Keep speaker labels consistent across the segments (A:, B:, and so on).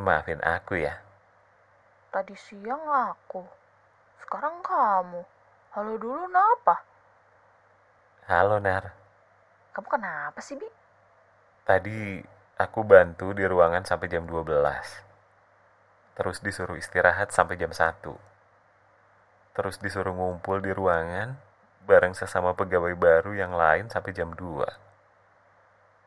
A: maafin aku ya.
B: Tadi siang aku. Sekarang kamu. Halo dulu napa?
A: Halo, Nar.
B: Kamu kenapa sih, Bi?
A: Tadi aku bantu di ruangan sampai jam 12. Terus disuruh istirahat sampai jam 1. Terus disuruh ngumpul di ruangan bareng sesama pegawai baru yang lain sampai jam 2.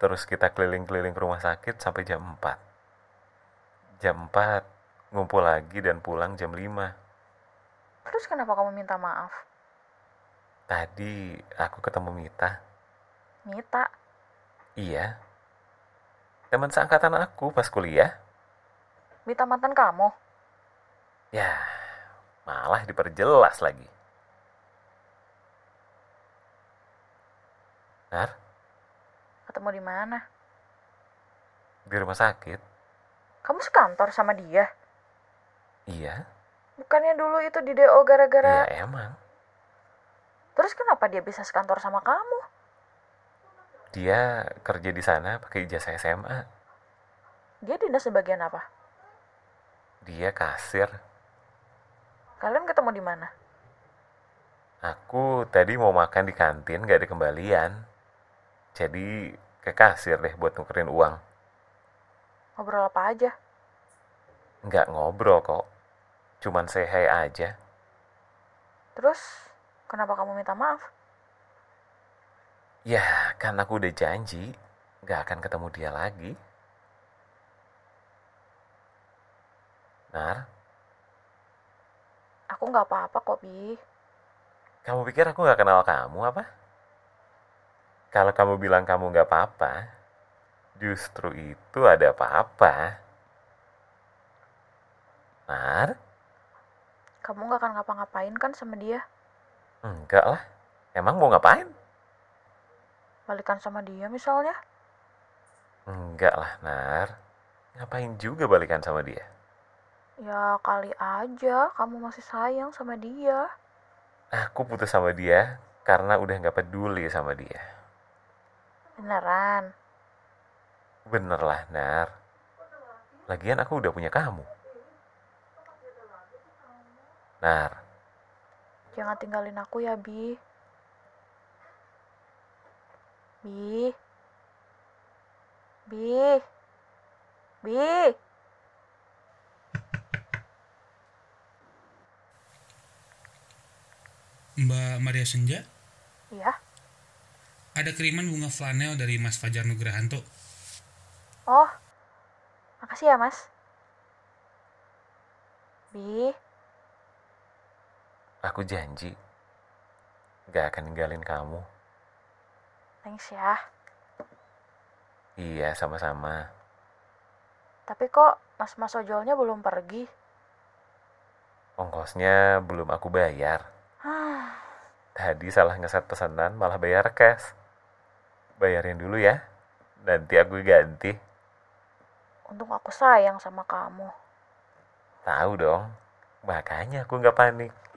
A: Terus kita keliling-keliling rumah sakit sampai jam 4. Jam 4 ngumpul lagi dan pulang jam 5.
B: Terus kenapa kamu minta maaf?
A: Tadi aku ketemu Mita.
B: Mita,
A: Iya. Teman seangkatan aku pas kuliah.
B: Mita mantan kamu.
A: Ya, malah diperjelas lagi. Nar,
B: Ketemu di mana?
A: di rumah sakit?
B: Kamu sekantor sama dia.
A: Iya.
B: Bukannya dulu itu di DO gara-gara...
A: Iya emang.
B: Terus kenapa dia bisa sekantor sama kamu?
A: Dia kerja di sana pakai ijazah SMA.
B: Dia dinas sebagian apa?
A: Dia kasir.
B: Kalian ketemu di mana?
A: Aku tadi mau makan di kantin gak ada kembalian. Jadi ke kasir deh buat nukerin uang.
B: Ngobrol apa aja?
A: Nggak ngobrol kok. Cuman say hi aja.
B: Terus, kenapa kamu minta maaf?
A: Ya, kan aku udah janji gak akan ketemu dia lagi. Nar,
B: Aku nggak apa-apa kok, Bi.
A: kamu pikir aku gak kenal kamu apa? Kalau kamu bilang kamu gak apa-apa, justru itu ada apa-apa. Nar,
B: Kamu nggak akan ngapa-ngapain kan sama dia?
A: enggak lah. Emang mau ngapain?
B: Balikan sama dia misalnya?
A: Enggak lah, Nar. Ngapain juga balikan sama dia?
B: Ya kali aja kamu masih sayang sama dia.
A: Aku putus sama dia karena udah gak peduli sama dia.
B: Beneran.
A: Bener lah, Nar. Lagian aku udah punya kamu. Nar,
B: Jangan tinggalin aku ya, Bi. Bi. Bi. Bi.
C: Mbak Maria Senja,
B: Iya.
C: ada kiriman bunga flanel dari Mas Fajar Nugrahanto.
B: Oh. Makasih ya, Mas. Bi,
A: aku janji gak akan ninggalin kamu.
B: thanks ya.
A: Iya, sama-sama.
B: Tapi kok mas-mas ojolnya belum pergi?
A: Ongkosnya belum aku bayar.
B: Hah,
A: Tadi salah ngeset pesanan, malah bayar cash. Bayarin dulu ya. Nanti aku ganti.
B: untung aku sayang sama kamu.
A: Tahu dong. Makanya aku nggak panik.